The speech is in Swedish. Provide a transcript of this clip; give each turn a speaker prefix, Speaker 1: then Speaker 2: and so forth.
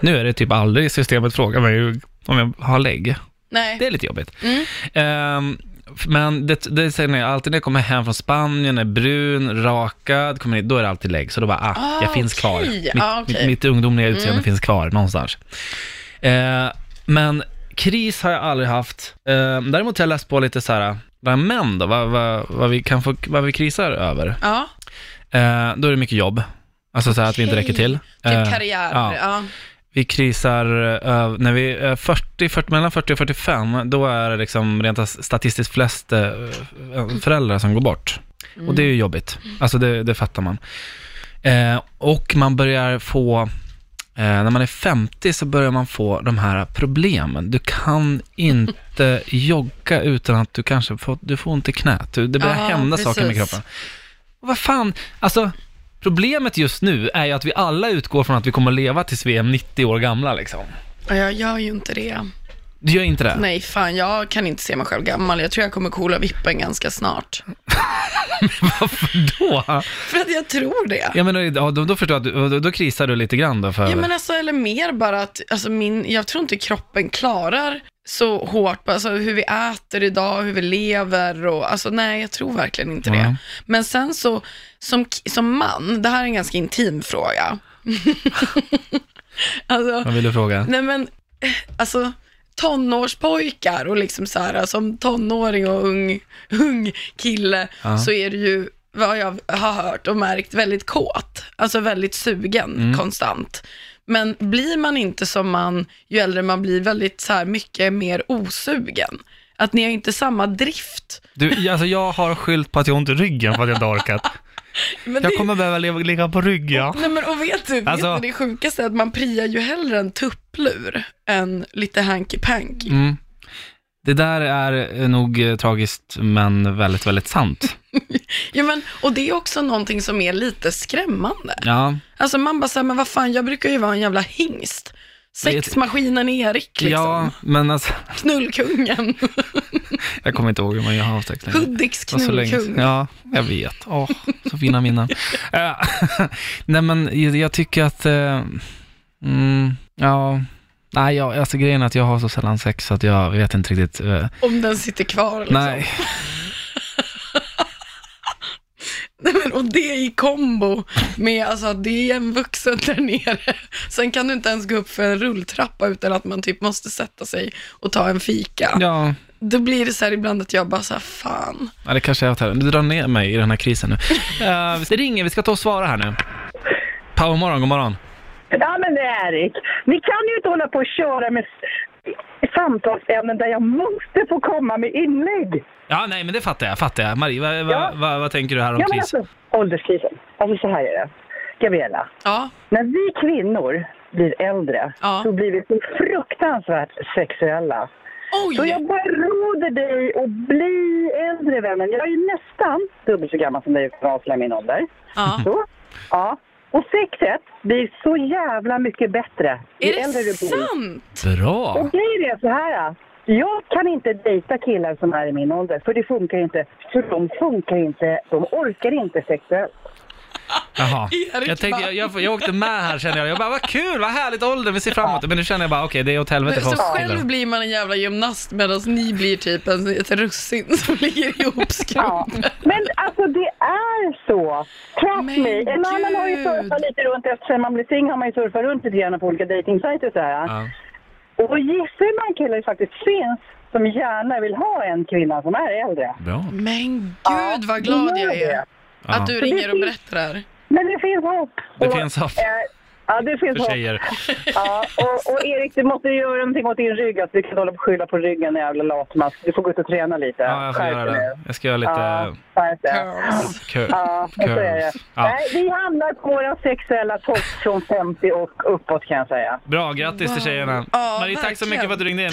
Speaker 1: Nu är det typ aldrig systemet frågar mig hur- om jag har lägg.
Speaker 2: Nej.
Speaker 1: Det är lite jobbigt.
Speaker 2: Mm.
Speaker 1: Ehm, f- men det, det säger ni alltid när jag kommer hem från Spanien, är brun, rakad, kommer hit, då är det alltid lägg. Så då bara, ah,
Speaker 2: Ah,
Speaker 1: jag finns kvar.
Speaker 2: okej.
Speaker 1: Mitt,
Speaker 2: Ah, okej.
Speaker 1: mitt, mitt ungdomliga utseende finns kvar någonstans. Eh, men kris har jag aldrig haft. Eh, däremot har jag läst på lite så här, bland män då, vad, vad, vad vi kan få, vad vi krisar över.
Speaker 2: Ja,
Speaker 1: Eh, då är det mycket jobb. Alltså så här att vi inte
Speaker 2: Okej.
Speaker 1: räcker till.
Speaker 2: typ
Speaker 1: Eh,
Speaker 2: karriär.
Speaker 1: ja.
Speaker 2: Ja.
Speaker 1: vi krisar, eh, när vi är 40, 40, mellan 40 och 45, då är det liksom rent statistiskt flest eh, föräldrar som går bort. Och
Speaker 2: Mm.
Speaker 1: det är ju jobbigt. Alltså det, det fattar man. Eh, och man börjar få, eh, när man är 50 så börjar man få de här problemen. Du kan inte jogga utan att du kanske får, du får ont i knät. Du- Det börjar
Speaker 2: Ja,
Speaker 1: hända saker med
Speaker 2: precis.
Speaker 1: kroppen. Och vad fan, alltså problemet just nu är ju att vi alla utgår från att vi kommer att leva tills vi är 90 år gamla liksom.
Speaker 2: Ja, Jag gör ju inte det.
Speaker 1: Du gör inte det?
Speaker 2: Nej, fan, jag kan inte se mig själv gammal. Jag tror jag kommer coola vippen ganska snart.
Speaker 1: Varför då?
Speaker 2: För att jag tror det.
Speaker 1: Jag menar, ja, då, då förstår jag att du, då, då krisar du lite grann då för...
Speaker 2: Ja, men alltså, eller mer bara att, alltså, min, jag tror inte kroppen klarar så hårt, alltså hur vi äter idag, hur vi lever och, alltså nej, jag tror verkligen inte det.
Speaker 1: Mm.
Speaker 2: Men sen så, som, k- som man, det här är en ganska intim fråga. alltså,
Speaker 1: Vad vill du fråga?
Speaker 2: nej men, eh, alltså tonårspojkar och liksom så här, som tonåring och ung, ung kille,
Speaker 1: Ja.
Speaker 2: så är det ju, vad jag har hört och märkt, väldigt kåt. Alltså väldigt sugen
Speaker 1: Mm.
Speaker 2: konstant. Men blir man inte som man, ju äldre man blir, väldigt så här mycket mer osugen. Att ni har inte samma drift.
Speaker 1: Du, alltså jag har skylt på att jag har ont i ryggen för att jag inte har orkat.
Speaker 2: Men
Speaker 1: Jag
Speaker 2: det-
Speaker 1: kommer behöva leva, ligga på rygg ja.
Speaker 2: Nej men och vet du, vet
Speaker 1: Alltså-
Speaker 2: du det sjukaste är att man priar ju hellre en tupplur än lite hanky-panky.
Speaker 1: Mm. Det där är eh, nog eh, tragiskt men väldigt, väldigt sant.
Speaker 2: Ja, men, och det är också någonting som är lite skrämmande.
Speaker 1: Ja,
Speaker 2: Alltså man bara säger men vad fan, jag brukar ju vara en jävla hingst. Sexmaskinen Erik liksom.
Speaker 1: ja men alltså,
Speaker 2: Knullkungen.
Speaker 1: jag kommer inte ihåg hur man gör havstext längre.
Speaker 2: Hudiks
Speaker 1: Det var så länge
Speaker 2: knullkung.
Speaker 1: sedan. Ja, jag vet. Åh, så fina minnen. Eh, Nej, men jag- jag tycker att... eh, Mm, ja... Nej, jag, alltså grejen är att jag har så sällan sex så att jag vet inte riktigt. eh,
Speaker 2: Om den sitter kvar liksom.
Speaker 1: nej,
Speaker 2: Nej, men, och det i kombo med alltså, att det är en vuxen där nere. Sen kan du inte ens gå upp för en rulltrappa utan att man typ måste sätta sig och ta en fika.
Speaker 1: ja,
Speaker 2: Då blir det så här ibland att jag bara så här, fan.
Speaker 1: ja, det kanske är åt här. Du drar ner mig i den här krisen nu. Eh, det ringer, vi ska ta och svara här nu. Powermorgon, god morgon.
Speaker 3: Ja, men det är Erik. Ni kan ju inte hålla på och köra med s- samtalsämnen där jag måste få komma med inlägg.
Speaker 1: Ja, nej, men det fattar jag, fattar jag. Marie, vad, vad,
Speaker 3: Ja.
Speaker 1: vad, vad tänker du här om
Speaker 3: Ja, men
Speaker 1: kris?
Speaker 3: alltså, ålderskrisen. Alltså så här är det. Gabriella,
Speaker 2: Ja,
Speaker 3: när vi kvinnor blir äldre
Speaker 2: Ja.
Speaker 3: så blir vi så fruktansvärt sexuella. Så
Speaker 2: oj,
Speaker 3: jag beråder dig att bli äldre, vännen. Jag är nästan dubbelt så gammal som dig för att avslöja min ålder.
Speaker 2: ja.
Speaker 3: Så. Ja. Och sexet blir så jävla mycket bättre ju
Speaker 2: Är
Speaker 3: äldre
Speaker 2: det
Speaker 3: du blir.
Speaker 2: sant?
Speaker 1: Bra!
Speaker 3: Och grejen är så här. Jag kan inte dejta killar som är i min ålder, för det funkar inte. För de funkar inte, de orkar inte sexuellt.
Speaker 1: Jaha.
Speaker 2: Erik
Speaker 1: Jag, tänkte, jag,
Speaker 2: Mann.
Speaker 1: jag, jag åkte med här känner jag. Jag bara, vad kul, vad härligt ålder, vi ser framåt. Men nu känner jag bara, okej, det är åt helvete för
Speaker 2: Så
Speaker 1: oss
Speaker 2: själv
Speaker 1: killar.
Speaker 2: blir man en jävla gymnast medan ni blir typ en, ett russin som ligger
Speaker 3: Ja.
Speaker 2: ihopskrumpet.
Speaker 3: Men alltså det är så! Trust
Speaker 2: Men
Speaker 3: me! En annan har ju
Speaker 2: gud.
Speaker 3: surfat lite runt, eftersom man blir singel har man ju surfat runt lite grann på olika dejtingsajter och så här.
Speaker 1: Ja.
Speaker 3: Och då gissar man killar det faktiskt finns som gärna vill ha en kvinna som är äldre.
Speaker 1: Bra.
Speaker 2: Men gud
Speaker 3: Ja,
Speaker 2: vad glad
Speaker 3: det gör
Speaker 2: jag är
Speaker 3: det.
Speaker 1: Ja.
Speaker 2: att du ringer och berättar det här.
Speaker 3: Men det finns hopp!
Speaker 1: Det
Speaker 3: Och,
Speaker 1: finns hopp.
Speaker 3: eh, Ja, det finns
Speaker 1: För
Speaker 3: hopp.
Speaker 1: tjejer.
Speaker 3: Ja, och, och Erik, du måste göra någonting åt din rygg. Alltså, du kan inte hålla på och skylla på ryggen, jävla latmask. Du får gå ut och träna lite.
Speaker 1: Ja, jag får
Speaker 3: Skärp
Speaker 1: göra
Speaker 3: dig
Speaker 1: det.
Speaker 3: nu.
Speaker 1: Jag ska göra
Speaker 3: Ja,
Speaker 1: lite
Speaker 3: skärp dig.
Speaker 2: Girls.
Speaker 1: kö-
Speaker 3: Ja, så är det.
Speaker 1: curls. Ja.
Speaker 3: Nej, vi hamnar på våra sexuella topp från 50 och uppåt kan jag säga.
Speaker 1: Bra, grattis till tjejerna.
Speaker 2: Ja,
Speaker 1: Marie, tack så mycket
Speaker 2: verkligen.
Speaker 1: för att du ringde in.